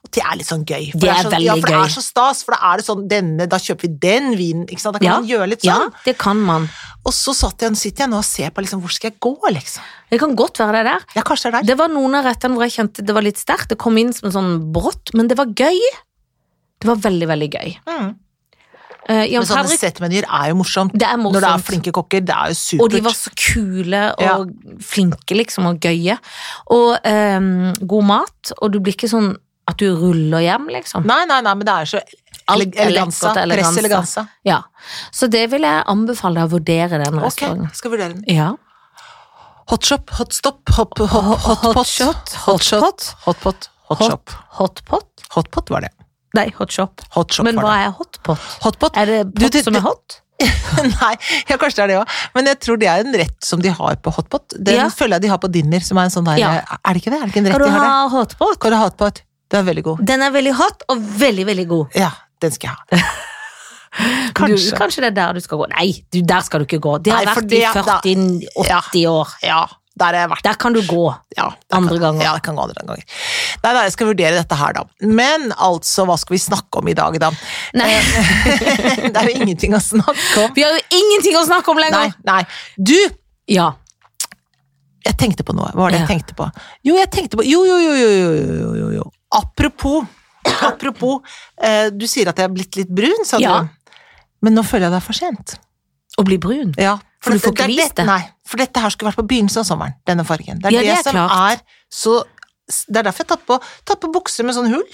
Speaker 2: Og det er litt sånn gøy. For
Speaker 1: Det er
Speaker 2: så,
Speaker 1: veldig
Speaker 2: ja, for det
Speaker 1: gøy.
Speaker 2: er så stas, for da er det sånn denne, da kjøper vi den vinen, ikke sant. Da kan
Speaker 1: Ja.
Speaker 2: man gjøre litt
Speaker 1: Ja,
Speaker 2: sånn.
Speaker 1: det kan man.
Speaker 2: Og så satt jeg, sitter jeg nå og ser på liksom, hvor skal jeg gå, liksom.
Speaker 1: Det kan godt være det der.
Speaker 2: Ja, kanskje det er der.
Speaker 1: Det var noen av rettene hvor jeg kjente det var litt sterkt. Det kom inn som en sånn brått, men det var gøy. Det var veldig, veldig gøy.
Speaker 2: Mm.
Speaker 1: Eh, Jan
Speaker 2: Men sånne
Speaker 1: Fredrik,
Speaker 2: settmenyer er jo morsomt.
Speaker 1: det er
Speaker 2: Når det er
Speaker 1: morsomt.
Speaker 2: flinke kokker, det er jo supert.
Speaker 1: Og de var så kule og flinke, liksom, og gøye. Og eh, god mat, og du blir ikke sånn at du ruller hjem, liksom.
Speaker 2: Nei, nei, nei, men det er så
Speaker 1: Alt
Speaker 2: ele
Speaker 1: er
Speaker 2: eleganza.
Speaker 1: lekkert og eleganza.
Speaker 2: Press eleganza.
Speaker 1: Ja. Så det vil jeg anbefale deg å vurdere den
Speaker 2: Ok,
Speaker 1: restauranten.
Speaker 2: skal vurdere den.
Speaker 1: Ja.
Speaker 2: Hotshop, hotstop, hop, hop, hot,
Speaker 1: hot
Speaker 2: hotpot.
Speaker 1: shot,
Speaker 2: hotshot, hotpot, hotshop.
Speaker 1: Hotpot?
Speaker 2: Hotpot var det.
Speaker 1: Nei, hotshop.
Speaker 2: Hotshop
Speaker 1: Men hva
Speaker 2: var det.
Speaker 1: er hotpot?
Speaker 2: Hotpot?
Speaker 1: Er det
Speaker 2: Du,
Speaker 1: pott
Speaker 2: det-
Speaker 1: som
Speaker 2: det-
Speaker 1: er hot?
Speaker 2: Nei, ja, kanskje det er det òg. Men jeg tror det er en rett som de har på hotpot. Den
Speaker 1: Ja.
Speaker 2: føler jeg de har på dinner, som er en sånn der
Speaker 1: Ja.
Speaker 2: Er det ikke det? Er det ikke en
Speaker 1: Kan
Speaker 2: rett
Speaker 1: du
Speaker 2: de
Speaker 1: ha
Speaker 2: har der?
Speaker 1: hotpot?
Speaker 2: Kan du ha hotpot? Den er veldig god.
Speaker 1: Den er veldig hot og veldig, veldig god.
Speaker 2: Ja, den skal jeg ha.
Speaker 1: Du,
Speaker 2: Kanskje.
Speaker 1: kanskje det er der du skal gå. Nei, du, der skal du ikke gå. Det har
Speaker 2: Nei, for
Speaker 1: vært i
Speaker 2: det-
Speaker 1: 40-80 år.
Speaker 2: Ja, der har jeg vært.
Speaker 1: Der kan du gå.
Speaker 2: Ja, det
Speaker 1: Andre
Speaker 2: kan,
Speaker 1: ganger.
Speaker 2: Ja, det kan gå andre ganger. Nei, nei, jeg skal vurdere dette her, da. Men altså, hva skal vi snakke om i dag, da?
Speaker 1: Nei,
Speaker 2: det er jo ingenting å snakke om.
Speaker 1: vi har jo ingenting å snakke om
Speaker 2: Nei,
Speaker 1: lenger!
Speaker 2: nei. Du,
Speaker 1: Ja.
Speaker 2: jeg tenkte på noe. Hva var det jeg
Speaker 1: Ja.
Speaker 2: tenkte på? Jo, jeg tenkte på Jo, jo, jo, jo, jo, jo, jo, jo. Apropos, apropos eh, Du sier at jeg er blitt litt brun, sa
Speaker 1: Ja.
Speaker 2: du. Men nå føler jeg det er for sent.
Speaker 1: Å bli brun.
Speaker 2: Ja,
Speaker 1: For du får ikke
Speaker 2: er
Speaker 1: vist det.
Speaker 2: Nei, for dette her skulle vært på begynnelsen av sommeren, denne fargen. Det er
Speaker 1: Ja,
Speaker 2: det,
Speaker 1: det er
Speaker 2: som
Speaker 1: klart.
Speaker 2: er så Det er derfor jeg har tatt på, tatt på bukser med sånn hull.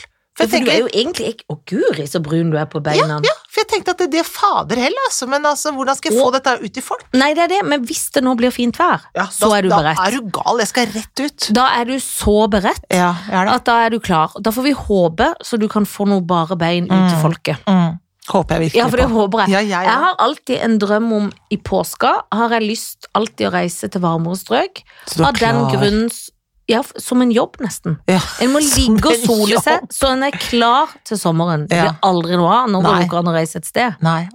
Speaker 1: For
Speaker 2: For jeg
Speaker 1: du
Speaker 2: tenker,
Speaker 1: er jo egentlig ikke Å, guri, så brun du er på beina.
Speaker 2: ja, for jeg tenkte at det, det er fader heller, altså. Men altså, hvordan skal jeg få dette ut til folk?
Speaker 1: Nei, det er det, men hvis det nå blir fint vær,
Speaker 2: Ja,
Speaker 1: så
Speaker 2: da,
Speaker 1: er du
Speaker 2: Da
Speaker 1: beredt.
Speaker 2: er du gal, jeg skal rett ut.
Speaker 1: Da er du så beredt
Speaker 2: Ja, jeg er det.
Speaker 1: at da er du klar. Da får vi håpe, så du kan få noe bare bein ut til
Speaker 2: Mm.
Speaker 1: folket.
Speaker 2: Mm. Håper jeg virkelig
Speaker 1: Ja, for det
Speaker 2: på.
Speaker 1: håper jeg.
Speaker 2: Ja, jeg,
Speaker 1: Jeg
Speaker 2: ja.
Speaker 1: har alltid en drøm om i påska har jeg lyst alltid å reise til varmere strøk.
Speaker 2: Så du er
Speaker 1: Av den
Speaker 2: klar.
Speaker 1: grunnen s- ja, f- som en jobb, nesten.
Speaker 2: Ja.
Speaker 1: En må
Speaker 2: Som
Speaker 1: ligge og
Speaker 2: en
Speaker 1: sole seg,
Speaker 2: jobb.
Speaker 1: så en er klar til sommeren. Det
Speaker 2: Ja.
Speaker 1: blir aldri noe av når
Speaker 2: Nei.
Speaker 1: det går an å reise et sted.
Speaker 2: Nei,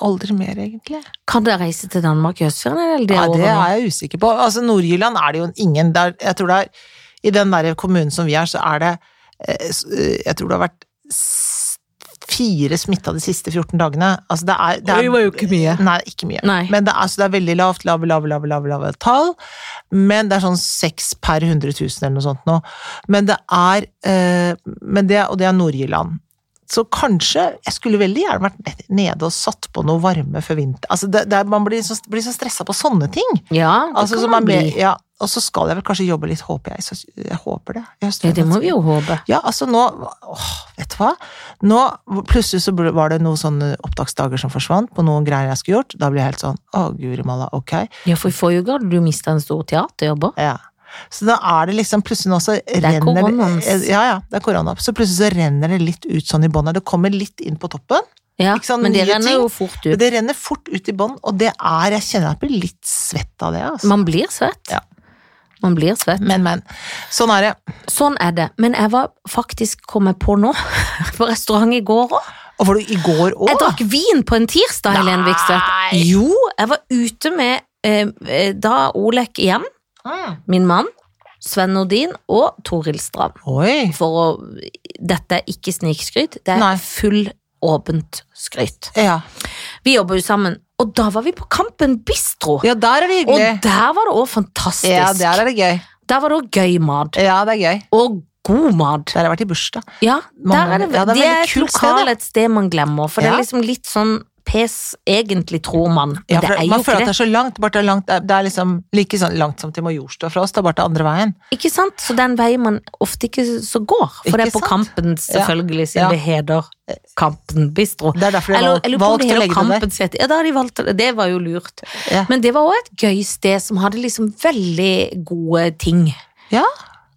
Speaker 2: aldri mer, egentlig.
Speaker 1: Kan dere reise til Danmark i høstferien, eller det
Speaker 2: Det,
Speaker 1: er
Speaker 2: ja,
Speaker 1: over
Speaker 2: det
Speaker 1: nå?
Speaker 2: er jeg usikker på. Altså, Nord-Jylland er det jo ingen der Jeg tror det er I den der kommunen som vi er, så er det eh, s- eh, Jeg tror det har vært s- fire smitta de siste 14 dagene. Altså, det er, det er
Speaker 1: mye.
Speaker 2: Nei, ikke mye.
Speaker 1: Nei.
Speaker 2: Men det er, så det er veldig lavt, lave, lave, lave, lave, lave tall. Men det er sånn seks per 100 000 eller noe sånt nå. Men det er, eh, men det, og det er Nord-Jylland. Så kanskje, jeg skulle veldig gjerne vært ned- nede og satt på noe varme før vinter. Altså det, det er, man blir så, blir så stressa på sånne ting.
Speaker 1: Ja, det
Speaker 2: Altså,
Speaker 1: kan
Speaker 2: som
Speaker 1: man
Speaker 2: er med,
Speaker 1: bli.
Speaker 2: ja, og så skal jeg vel kanskje jobbe litt, håper jeg. Så, jeg håper det. Jeg
Speaker 1: Ja, det må vi jo håpe.
Speaker 2: ja, altså nå åh, Vet du hva? Nå, plutselig så ble- var det noen sånne opptaksdager som forsvant på noen greier jeg skulle gjort. Da ble jeg helt sånn Å, guri malla, ok.
Speaker 1: Ja, for i forrige uke hadde du mista en stor teaterjobb òg.
Speaker 2: Ja. Så da er det liksom plutselig nå så
Speaker 1: er
Speaker 2: renner
Speaker 1: koronaens.
Speaker 2: Ja, ja, det er korona. Så plutselig så renner det litt ut sånn i bånn her. Det kommer litt inn på toppen.
Speaker 1: Ja,
Speaker 2: Ikke sant,
Speaker 1: men det
Speaker 2: nye
Speaker 1: renner
Speaker 2: ting.
Speaker 1: jo fort
Speaker 2: Men
Speaker 1: ut.
Speaker 2: det renner fort ut i bånn, og det er Jeg kjenner jeg blir litt svett av det, altså.
Speaker 1: Man blir svett.
Speaker 2: Ja.
Speaker 1: Man blir svett.
Speaker 2: Men, men. Sånn er det.
Speaker 1: Sånn er det. Men jeg var faktisk kommet på nå, på restaurant i går òg.
Speaker 2: Og var du i går
Speaker 1: Jeg
Speaker 2: òg?
Speaker 1: drakk vin på en tirsdag, Helene Vikstvedt.
Speaker 2: Nei.
Speaker 1: Jo, jeg var ute med eh, eh, da Olek igjen,
Speaker 2: Mm.
Speaker 1: min mann, Sven Nordin og Toril Strand.
Speaker 2: Oi.
Speaker 1: For å Dette er ikke snikskryt, det er
Speaker 2: Nei.
Speaker 1: full åpent skryt.
Speaker 2: Ja.
Speaker 1: Vi jobber jo sammen, og da var vi på Kampen Bistro.
Speaker 2: ja, der er det
Speaker 1: Og
Speaker 2: hyggelig.
Speaker 1: der var det òg fantastisk.
Speaker 2: Ja, der er det gøy.
Speaker 1: Der var det òg gøy mat.
Speaker 2: Ja, det er gøy.
Speaker 1: Og god mat.
Speaker 2: Der har jeg vært i bursdag.
Speaker 1: Ja,
Speaker 2: Man-
Speaker 1: der er det,
Speaker 2: ja, det er
Speaker 1: det
Speaker 2: veldig
Speaker 1: er et
Speaker 2: kult sted,
Speaker 1: lokal et sted man glemmer, for det
Speaker 2: Ja.
Speaker 1: er liksom litt sånn pes, egentlig, tror man. Men
Speaker 2: Ja, for
Speaker 1: det er jo
Speaker 2: man
Speaker 1: ikke
Speaker 2: føler at det
Speaker 1: det.
Speaker 2: er så langt. Bare det, er langt det er liksom like sånn langt som til Majorstua fra oss, det er bare til andre veien.
Speaker 1: Ikke sant? Så den veien man ofte ikke så går. For
Speaker 2: Ikke
Speaker 1: det er på
Speaker 2: sant?
Speaker 1: Kampen, selvfølgelig, siden
Speaker 2: Ja.
Speaker 1: det heter Kampen bistro.
Speaker 2: Det er derfor de
Speaker 1: Eller,
Speaker 2: valg-
Speaker 1: eller om det
Speaker 2: valgte å
Speaker 1: heter
Speaker 2: legge det der.
Speaker 1: Kampens hete. Ja, da har de valgt det. Det var jo lurt.
Speaker 2: Ja.
Speaker 1: Men det var òg et gøy sted som hadde liksom veldig gode ting.
Speaker 2: Ja.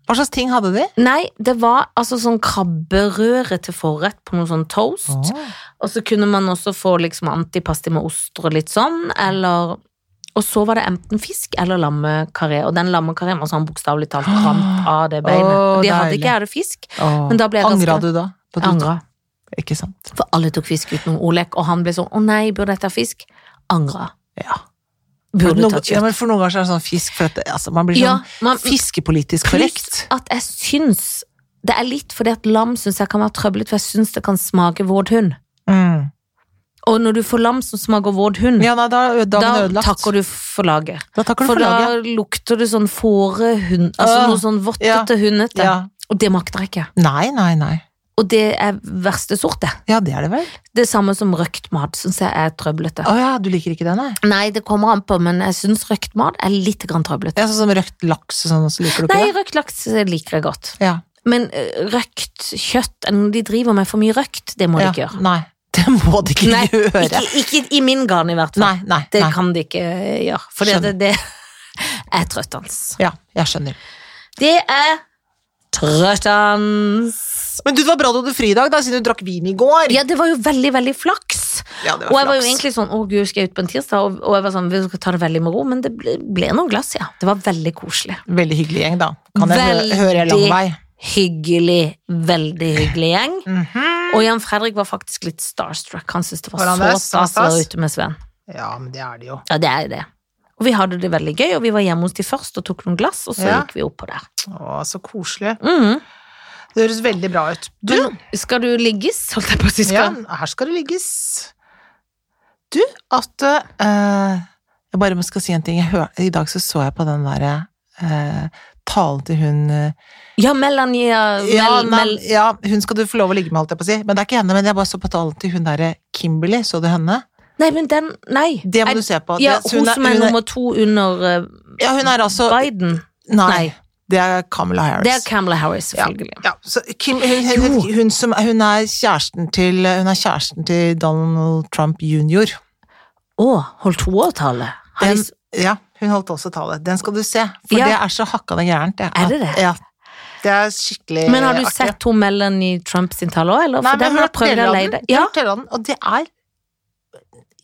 Speaker 2: Hva slags ting hadde de?
Speaker 1: Nei, det var altså sånn krabberøre til forrett på noe sånn toast. Og så kunne man også få liksom antipasti med oster og litt sånn, eller Og så var det enten fisk eller lammekaré, og den lammekareen var sånn bokstavelig talt kramp av det beinet.
Speaker 2: Åh,
Speaker 1: Og det hadde
Speaker 2: deilig.
Speaker 1: ikke jeg hadde fisk.
Speaker 2: Åh.
Speaker 1: Men da ble jeg
Speaker 2: Angra
Speaker 1: ganske-
Speaker 2: du da? på
Speaker 1: Jeg
Speaker 2: at du-
Speaker 1: angra.
Speaker 2: Ikke sant.
Speaker 1: For alle tok fisk utenom Olek, og han ble sånn 'Å nei, burde jeg ta fisk?' Angra.
Speaker 2: Ja.
Speaker 1: Burde
Speaker 2: Noen,
Speaker 1: tatt
Speaker 2: ja,
Speaker 1: kjøtt.
Speaker 2: men for noen ganger så er det sånn fisk for at det- altså, Man blir sånn
Speaker 1: Ja, man,
Speaker 2: fiskepolitisk
Speaker 1: pluss
Speaker 2: korrekt.
Speaker 1: at jeg syns Det er litt fordi at lam syns jeg kan være trøblete, for jeg syns det kan smake vådhund.
Speaker 2: Mm.
Speaker 1: Og når du får lam som smaker vådhund,
Speaker 2: Ja, nei, da er dagen
Speaker 1: da
Speaker 2: ødelagt.
Speaker 1: takker du for laget.
Speaker 2: da takker du
Speaker 1: For
Speaker 2: for laget.
Speaker 1: da lukter det sånn fårehund, altså
Speaker 2: Åh,
Speaker 1: noe sånn vottete, hundete.
Speaker 2: Ja.
Speaker 1: Og det makter jeg ikke.
Speaker 2: Nei, nei, nei.
Speaker 1: Og det er verste sort, det.
Speaker 2: Ja, det er det vel.
Speaker 1: Det samme som røkt mat, syns jeg er trøblete.
Speaker 2: Å ja, du liker ikke det, nei?
Speaker 1: Nei, det kommer an på, men jeg syns røkt mat er litt grann trøblete.
Speaker 2: Ja, sånn som røkt laks og sånn, så liker du ikke
Speaker 1: Nei,
Speaker 2: det?
Speaker 1: røkt laks liker jeg godt.
Speaker 2: Ja.
Speaker 1: Men eh, røkt kjøtt, eh, når de driver med for mye røkt, det må
Speaker 2: ja.
Speaker 1: de ikke gjøre.
Speaker 2: Nei, det må de ikke
Speaker 1: Nei,
Speaker 2: gjøre.
Speaker 1: ikke, ikke i min garn i hvert fall.
Speaker 2: Nei, nei,
Speaker 1: det
Speaker 2: nei.
Speaker 1: kan de ikke eh, gjøre, for det, det,
Speaker 2: Skjønner.
Speaker 1: det er trøttende.
Speaker 2: Ja, jeg skjønner.
Speaker 1: Det er trøttende.
Speaker 2: Men du, det var bra du hadde fri i dag, da, siden du drakk vin i går.
Speaker 1: Ja, det var jo veldig, veldig flaks.
Speaker 2: Ja, det
Speaker 1: Og jeg var jo
Speaker 2: flaks.
Speaker 1: egentlig sånn, å gud, skal jeg ut på en tirsdag? Og, og jeg var sånn, vi skal ta det veldig med ro, men det ble, ble noen glass, ja. Det var veldig koselig.
Speaker 2: Veldig hyggelig gjeng, da. Kan jeg hø-
Speaker 1: Veldig.
Speaker 2: høre jeg lang vei.
Speaker 1: Hyggelig, veldig hyggelig gjeng. Og Jan Fredrik var faktisk litt starstruck. Han syntes det var
Speaker 2: Mhm. Var han
Speaker 1: så
Speaker 2: det?
Speaker 1: stas å
Speaker 2: Stas?
Speaker 1: være ute med Sven.
Speaker 2: Ja, men det er det jo.
Speaker 1: Ja, det er jo det. Og vi hadde det veldig gøy, og vi var hjemme hos de først og tok noen glass, og så
Speaker 2: Ja.
Speaker 1: gikk vi opp på der.
Speaker 2: Å, så koselig.
Speaker 1: Mhm.
Speaker 2: Det høres veldig bra ut. Du,
Speaker 1: Men skal du ligges, holdt jeg på å si?
Speaker 2: ja,
Speaker 1: Skal.
Speaker 2: her skal det ligges. Du, at eh, Jeg bare skal si en ting. Jeg hør, I dag så så jeg på den derre eh, talen til hun eh,
Speaker 1: Ja, Melania, Mel,
Speaker 2: ja, nei,
Speaker 1: Mel,
Speaker 2: ja, hun skal du få lov å ligge med, holdt jeg på å si. Men det er ikke henne. Men jeg bare så på talen til hun derre Kimberley. Så du henne?
Speaker 1: Nei, men den, nei.
Speaker 2: Det må
Speaker 1: Er-
Speaker 2: du se på.
Speaker 1: Ja,
Speaker 2: det,
Speaker 1: hun
Speaker 2: hun er-
Speaker 1: som er
Speaker 2: hun er-
Speaker 1: nummer to under eh,
Speaker 2: Ja, hun er altså
Speaker 1: Biden.
Speaker 2: Nei.
Speaker 1: Nei.
Speaker 2: Det er Kamala Harris.
Speaker 1: Det er Kamala Harris, selvfølgelig.
Speaker 2: ja, så Kim, hun, hun,
Speaker 1: Jo.
Speaker 2: hun, som, hun er kjæresten til Hun er kjæresten til Donald Trump jr.
Speaker 1: Å, holdt hun åtale? Har de
Speaker 2: Den,
Speaker 1: s-
Speaker 2: ja, hun holdt også tale. Den skal du se, for
Speaker 1: Ja.
Speaker 2: det er så hakka det gærent.
Speaker 1: Er det det?
Speaker 2: Ja. Det er skikkelig
Speaker 1: Men har du
Speaker 2: artig.
Speaker 1: sett hun Melanie Trump sin tale òg, eller?
Speaker 2: Nei,
Speaker 1: For den
Speaker 2: men
Speaker 1: har jeg
Speaker 2: hørt
Speaker 1: prøvd
Speaker 2: deler
Speaker 1: å
Speaker 2: av
Speaker 1: leie
Speaker 2: den,
Speaker 1: deg. Ja,
Speaker 2: hørt deler av den, og det er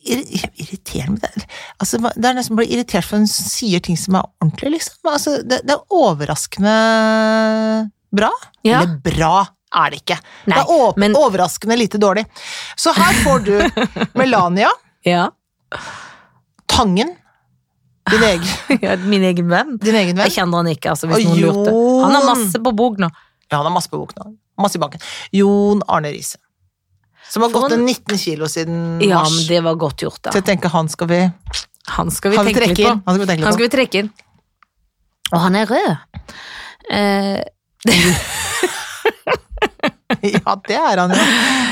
Speaker 2: irri- irriterende med det. Altså, det er nesten bare irritert for hun sier ting som er ordentlig, liksom. Altså, det, det er overraskende bra.
Speaker 1: ja.
Speaker 2: Eller bra er det ikke.
Speaker 1: Nei,
Speaker 2: det er åp-
Speaker 1: men-
Speaker 2: overraskende lite dårlig. Så her får du Melania
Speaker 1: ja.
Speaker 2: Tangen. Din egen,
Speaker 1: ja min egen venn.
Speaker 2: din egen
Speaker 1: Jeg
Speaker 2: venn.
Speaker 1: kjenner han ikke, altså, hvis
Speaker 2: Og
Speaker 1: noen lurte. Han har
Speaker 2: Jon.
Speaker 1: masse på bok nå.
Speaker 2: Ja, han har masse på bok nå. Masse i banken. Jon Arne Riise. Som har
Speaker 1: For
Speaker 2: gått
Speaker 1: han-
Speaker 2: ned 19 kilo siden
Speaker 1: Ja,
Speaker 2: mars.
Speaker 1: men det var godt gjort,
Speaker 2: Så
Speaker 1: da.
Speaker 2: jeg tenker han skal vi,
Speaker 1: Han skal vi
Speaker 2: han vi
Speaker 1: tenke litt
Speaker 2: trekke
Speaker 1: på.
Speaker 2: inn. Han skal vi tenke
Speaker 1: Han
Speaker 2: litt
Speaker 1: skal vi trekke inn. Og han er rød. Eh,
Speaker 2: på. Ja, det er han jo.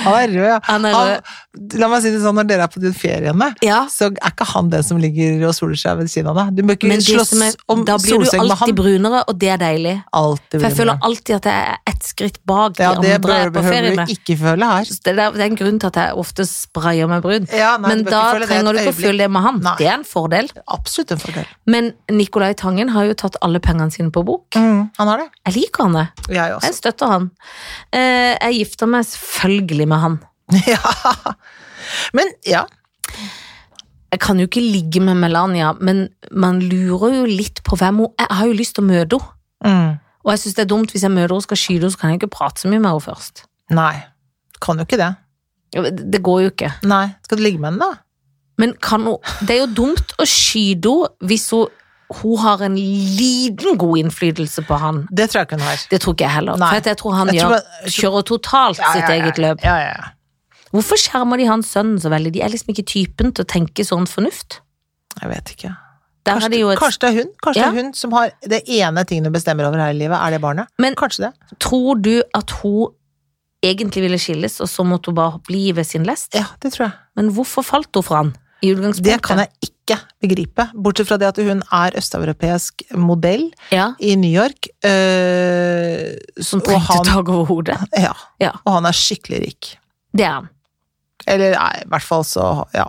Speaker 2: Han er rød.
Speaker 1: han er
Speaker 2: Han,
Speaker 1: rød.
Speaker 2: la meg si det sånn, når dere er på de feriene,
Speaker 1: Ja.
Speaker 2: så er ikke han den som ligger og soler seg ved siden av deg. Du må ikke
Speaker 1: Men det
Speaker 2: slåss
Speaker 1: som er,
Speaker 2: om
Speaker 1: da blir du
Speaker 2: solseng med
Speaker 1: alltid
Speaker 2: han.
Speaker 1: brunere, og det er deilig.
Speaker 2: Alltid
Speaker 1: For jeg
Speaker 2: brun, ja.
Speaker 1: føler alltid at jeg er ett skritt bak de
Speaker 2: Ja, det
Speaker 1: andre jeg
Speaker 2: bør,
Speaker 1: er på ferie
Speaker 2: behøver
Speaker 1: med.
Speaker 2: du ikke føle her.
Speaker 1: Så Det er, det er en grunn til at jeg ofte sprayer meg brun.
Speaker 2: Ja, nei,
Speaker 1: Men
Speaker 2: du bør
Speaker 1: da
Speaker 2: ikke føle det
Speaker 1: trenger du
Speaker 2: et
Speaker 1: ikke å
Speaker 2: øyeblikk.
Speaker 1: føle det med han.
Speaker 2: Nei.
Speaker 1: Det er en fordel.
Speaker 2: Absolutt en fordel.
Speaker 1: Men Nicolai Tangen har jo tatt alle pengene sine på bok.
Speaker 2: Han har det.
Speaker 1: Jeg liker han, jeg.
Speaker 2: Jeg også.
Speaker 1: Jeg støtter han. Eh, Jeg gifter meg selvfølgelig med han.
Speaker 2: ja. Men ja.
Speaker 1: Jeg kan jo ikke ligge med Melania, men man lurer jo litt på hvem hun er. Jeg har jo lyst til å møte henne.
Speaker 2: Mm.
Speaker 1: Og jeg syns det er dumt hvis jeg møter henne og skal skyte henne, så kan jeg ikke prate så mye med henne først.
Speaker 2: Nei. Kan jo ikke det.
Speaker 1: Det går jo ikke.
Speaker 2: Nei. Skal du ligge med henne, da?
Speaker 1: Men kan hun Det er jo dumt å skyte henne hvis hun, hun har en liten god innflytelse på han.
Speaker 2: Det tror jeg ikke hun har.
Speaker 1: Det tror ikke jeg heller.
Speaker 2: Nei.
Speaker 1: For at jeg tror han
Speaker 2: Jeg tror
Speaker 1: gjør,
Speaker 2: bare- jeg tror-
Speaker 1: kjører totalt
Speaker 2: Ja,
Speaker 1: sitt
Speaker 2: ja, ja,
Speaker 1: eget løp.
Speaker 2: Ja, ja, ja.
Speaker 1: Hvorfor skjermer de hans sønn så veldig? De er liksom ikke typen til å tenke sånn fornuft.
Speaker 2: Jeg vet ikke.
Speaker 1: Der
Speaker 2: Kanskje,
Speaker 1: er det jo et,
Speaker 2: kanskje det er hun Kanskje
Speaker 1: Ja.
Speaker 2: det er hun som har det ene tingen hun bestemmer over her i livet, er det barnet?
Speaker 1: Men-
Speaker 2: kanskje det.
Speaker 1: Tror du at hun egentlig ville skilles, og så måtte hun bare bli ved sin lest.
Speaker 2: Ja, det tror jeg.
Speaker 1: Men hvorfor falt hun for han i utgangspunktet?
Speaker 2: Det kan jeg ikke begripe. Bortsett fra det at hun er østeuropeisk modell
Speaker 1: Ja,
Speaker 2: i New York. øh,
Speaker 1: som
Speaker 2: og
Speaker 1: trengte
Speaker 2: han-
Speaker 1: tak over hodet.
Speaker 2: Ja.
Speaker 1: Ja.
Speaker 2: Og han er skikkelig rik.
Speaker 1: Det er han.
Speaker 2: Eller nei, i hvert fall så Ja.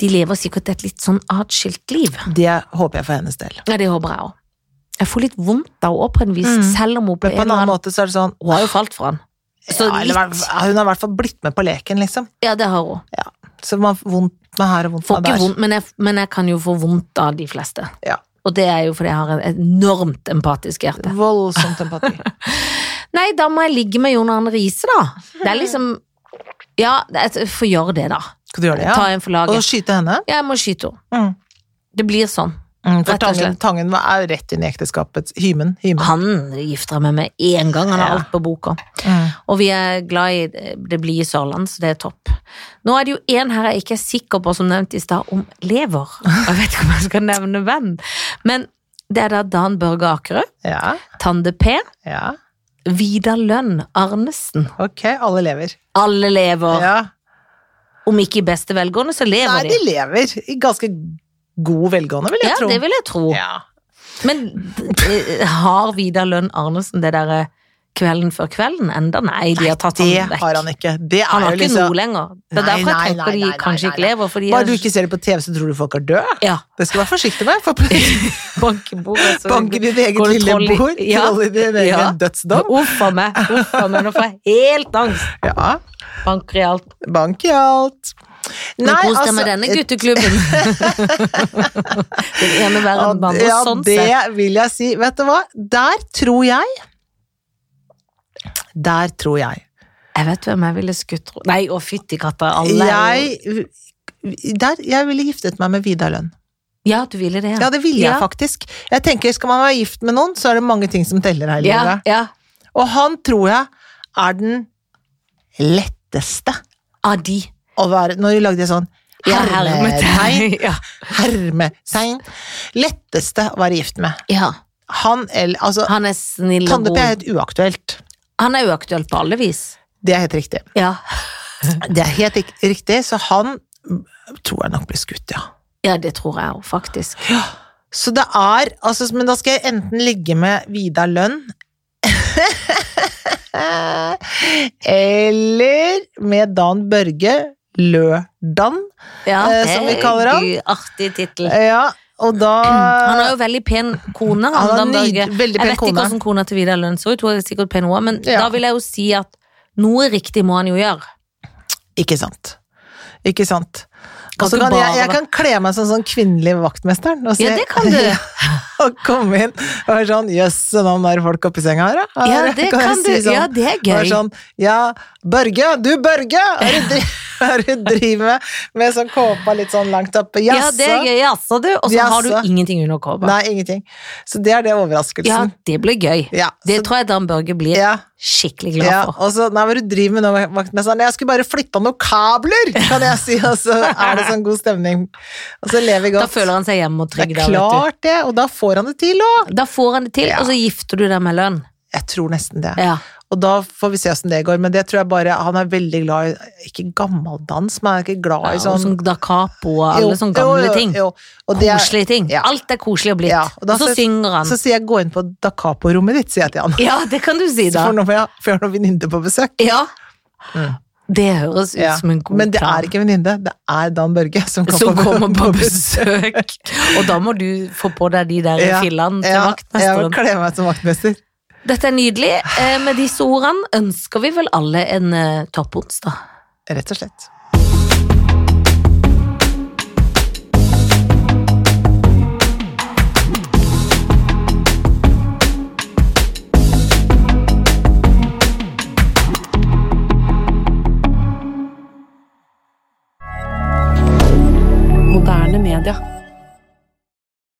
Speaker 1: De lever sikkert et litt sånn atskilt liv.
Speaker 2: Det håper jeg for hennes del.
Speaker 1: Ja, det håper jeg òg. Jeg får litt vondt av henne på en vis,
Speaker 2: Mm.
Speaker 1: selv om hun på
Speaker 2: Men
Speaker 1: en
Speaker 2: på en
Speaker 1: eller
Speaker 2: annen
Speaker 1: annen
Speaker 2: måte så er det sånn
Speaker 1: Hun har jo falt for han. Så
Speaker 2: ja, eller, i
Speaker 1: litt
Speaker 2: hvert fall- Hun har i hvert fall blitt med på leken, liksom.
Speaker 1: Ja, det har hun.
Speaker 2: Så man får vondt med her og vondt
Speaker 1: Får
Speaker 2: med
Speaker 1: ikke
Speaker 2: der.
Speaker 1: vondt, men jeg, men jeg kan jo få vondt av de fleste.
Speaker 2: Ja.
Speaker 1: Og det er jo fordi jeg har et enormt empatisk hjerte.
Speaker 2: Voldsomt empati.
Speaker 1: Nei, da må jeg ligge med Jon Arne Riise, da. Det er liksom Ja, jeg får gjøre det, da.
Speaker 2: Skal du gjøre det,
Speaker 1: Ta
Speaker 2: ja?
Speaker 1: en for
Speaker 2: Og
Speaker 1: laget.
Speaker 2: skyte henne?
Speaker 1: Ja, jeg må skyte henne.
Speaker 2: Mm.
Speaker 1: Det blir sånn.
Speaker 2: Mm, for
Speaker 1: Rett og
Speaker 2: tangen,
Speaker 1: slett.
Speaker 2: tangen er rett inn i ekteskapets hymen. hymen.
Speaker 1: Han gifter jeg meg med én gang, han har
Speaker 2: Ja.
Speaker 1: alt på boka.
Speaker 2: Mm.
Speaker 1: Og vi er glad i det- det blide Sørland, så det er topp. Nå er det jo en her jeg ikke er sikker på, som nevnt i stad, om lever. Jeg vet ikke om jeg skal nevne hvem. Men det er da Dan Børge Akerø,
Speaker 2: Ja,
Speaker 1: Tande P,
Speaker 2: ja.
Speaker 1: Vidar Lønn Arnesen.
Speaker 2: Ok, alle lever.
Speaker 1: Alle lever.
Speaker 2: Ja.
Speaker 1: Om ikke i beste velgående, så lever
Speaker 2: Nei, de
Speaker 1: de.
Speaker 2: lever i ganske god velgående, vil jeg
Speaker 1: Ja,
Speaker 2: tro.
Speaker 1: det vil jeg tro.
Speaker 2: Ja.
Speaker 1: Men eh, har Vidar Lønn Arnesen det derre kvelden før kvelden enda? Nei, de har tatt
Speaker 2: Det
Speaker 1: han vekk.
Speaker 2: har han ikke. Det er
Speaker 1: Han har
Speaker 2: jo
Speaker 1: ikke
Speaker 2: liksom-
Speaker 1: noe lenger. Det er
Speaker 2: Nei,
Speaker 1: derfor
Speaker 2: nei,
Speaker 1: jeg
Speaker 2: nei,
Speaker 1: tenker de
Speaker 2: nei,
Speaker 1: kanskje
Speaker 2: nei,
Speaker 1: ikke
Speaker 2: nei.
Speaker 1: lever. Fordi
Speaker 2: Bare du ikke ser det på TV, så tror du folk er døde.
Speaker 1: Ja,
Speaker 2: Det skal du være forsiktig med, for plutselig
Speaker 1: banker bordet. så-
Speaker 2: banker ditt
Speaker 1: altså, Går
Speaker 2: eget
Speaker 1: det
Speaker 2: lille
Speaker 1: troll i-
Speaker 2: bord,
Speaker 1: Ja.
Speaker 2: troll i din egen
Speaker 1: Ja.
Speaker 2: dødsdom.
Speaker 1: Uff a meg, uff a meg, nå får jeg helt angst.
Speaker 2: Ja,
Speaker 1: Banker i alt.
Speaker 2: bank i alt. altså,
Speaker 1: Men kos deg med denne gutteklubben. Den ene verre enn den andre,
Speaker 2: ja,
Speaker 1: sånn
Speaker 2: det
Speaker 1: sett.
Speaker 2: vil jeg si. Vet du hva, der tror jeg Der tror jeg
Speaker 1: Jeg vet hvem jeg ville skutt ro- Nei, å fytti katta, alle er jo-
Speaker 2: Jeg, der, jeg ville giftet meg med Vidar Lønn.
Speaker 1: Ja, du ville det,
Speaker 2: Ja, det ville jeg
Speaker 1: Ja.
Speaker 2: faktisk. Jeg tenker, Skal man være gift med noen, så er det mange ting som teller her i
Speaker 1: Ja,
Speaker 2: livet.
Speaker 1: ja.
Speaker 2: Og han tror jeg er den letteste
Speaker 1: Av de.
Speaker 2: å være Når du lagde jeg sånn
Speaker 1: Ja,
Speaker 2: hermetegn,
Speaker 1: hermetegn. Ja.
Speaker 2: hermetegn Letteste å være gift med.
Speaker 1: ja.
Speaker 2: Han eller Altså,
Speaker 1: Han er snill og
Speaker 2: Tande P er
Speaker 1: god.
Speaker 2: helt uaktuelt.
Speaker 1: Han er uaktuell på alle vis.
Speaker 2: Det er helt riktig.
Speaker 1: Ja,
Speaker 2: Det er helt rik- riktig, så han tror jeg nok blir skutt, ja.
Speaker 1: ja det tror jeg òg, faktisk.
Speaker 2: Så det er altså, Men da skal jeg enten ligge med Vidar Lønn Eller med Dan Børge Lørdan,
Speaker 1: Ja,
Speaker 2: Eh,
Speaker 1: det
Speaker 2: som vi
Speaker 1: er
Speaker 2: kaller han.
Speaker 1: en Artig tittel.
Speaker 2: ja, og da
Speaker 1: Han har jo veldig pen kone. Han,
Speaker 2: Han har
Speaker 1: Dan Børge.
Speaker 2: nyd- veldig pen
Speaker 1: jeg vet
Speaker 2: kone.
Speaker 1: ikke hvordan kona til Vidar Lønn så ut, hun er sikkert pen også, men
Speaker 2: Ja.
Speaker 1: da vil jeg jo si at noe riktig må han jo gjøre.
Speaker 2: Ikke sant. Ikke sant.
Speaker 1: Kan
Speaker 2: Og så
Speaker 1: ikke
Speaker 2: kan jeg,
Speaker 1: bare-
Speaker 2: jeg kan kle meg som sånn kvinnelig vaktmesteren. Og,
Speaker 1: Ja,
Speaker 2: se-
Speaker 1: det kan du.
Speaker 2: og komme inn og være sånn Jøss, så nå er det folk oppi senga her, ja.
Speaker 1: Ja,
Speaker 2: Her
Speaker 1: det
Speaker 2: jeg
Speaker 1: kan du.
Speaker 2: si sånn.
Speaker 1: Ja, det er
Speaker 2: Og er
Speaker 1: gøy.
Speaker 2: sånn, ja, Børge, du Børge! Hva er det du dri- hva er det du driver med? Med sånn kåpa litt sånn langt oppe.
Speaker 1: Ja, det
Speaker 2: Jaså?
Speaker 1: er gøy, jaså du. Og så har
Speaker 2: Jaså.
Speaker 1: du ingenting under kåpa.
Speaker 2: Nei, ingenting. Så det er det
Speaker 1: Ja,
Speaker 2: overraskelsen.
Speaker 1: det blir gøy.
Speaker 2: Ja.
Speaker 1: Det
Speaker 2: så-
Speaker 1: tror jeg Dan Børge blir
Speaker 2: ja.
Speaker 1: skikkelig glad
Speaker 2: Ja,
Speaker 1: for.
Speaker 2: og så, nei, hva er det du driver med nå, vaktmesteren? Jeg skulle bare flytta noen kabler, kan jeg si, og så er det sånn god stemning. Og så lever vi
Speaker 1: Da
Speaker 2: godt.
Speaker 1: føler han seg hjemme og
Speaker 2: det
Speaker 1: trygg.
Speaker 2: er
Speaker 1: Da, vet
Speaker 2: klart det, og da får han det til òg.
Speaker 1: du. da får han det til,
Speaker 2: Ja.
Speaker 1: og så gifter du deg med lønn.
Speaker 2: Jeg tror nesten det.
Speaker 1: Ja.
Speaker 2: Og da får vi se åssen det går, men det tror jeg bare Han er veldig glad i Ikke gammeldans, men han er ikke glad i
Speaker 1: Ja,
Speaker 2: sånn
Speaker 1: og sånn da capo og alle
Speaker 2: Jo,
Speaker 1: sånne gamle
Speaker 2: jo, jo,
Speaker 1: ting.
Speaker 2: jo. Og det er-
Speaker 1: Koselige ting.
Speaker 2: Ja.
Speaker 1: Alt er koselig og blitt.
Speaker 2: Ja,
Speaker 1: og,
Speaker 2: og da
Speaker 1: så
Speaker 2: så-
Speaker 1: synger han.
Speaker 2: Så sier jeg 'gå inn på da capo-rommet ditt', sier jeg til han.
Speaker 1: Ja, det kan du si,
Speaker 2: Så
Speaker 1: da.
Speaker 2: får nå- for jeg har noen venninner på besøk.
Speaker 1: Ja. Det høres ut
Speaker 2: Ja.
Speaker 1: som en god
Speaker 2: Men det
Speaker 1: plan.
Speaker 2: er ikke venninne, det er Dan Børge som, kan
Speaker 1: Som
Speaker 2: komme
Speaker 1: kommer på besøk. Og da må du få på deg de der
Speaker 2: Ja,
Speaker 1: fillene til
Speaker 2: ja, Jeg
Speaker 1: vaktmesteren.
Speaker 2: kler meg som vaktmester.
Speaker 1: Dette er nydelig. Eh, Med disse ordene ønsker vi vel alle en eh, topp onsdag.
Speaker 2: Rett og slett.
Speaker 3: Moderne media.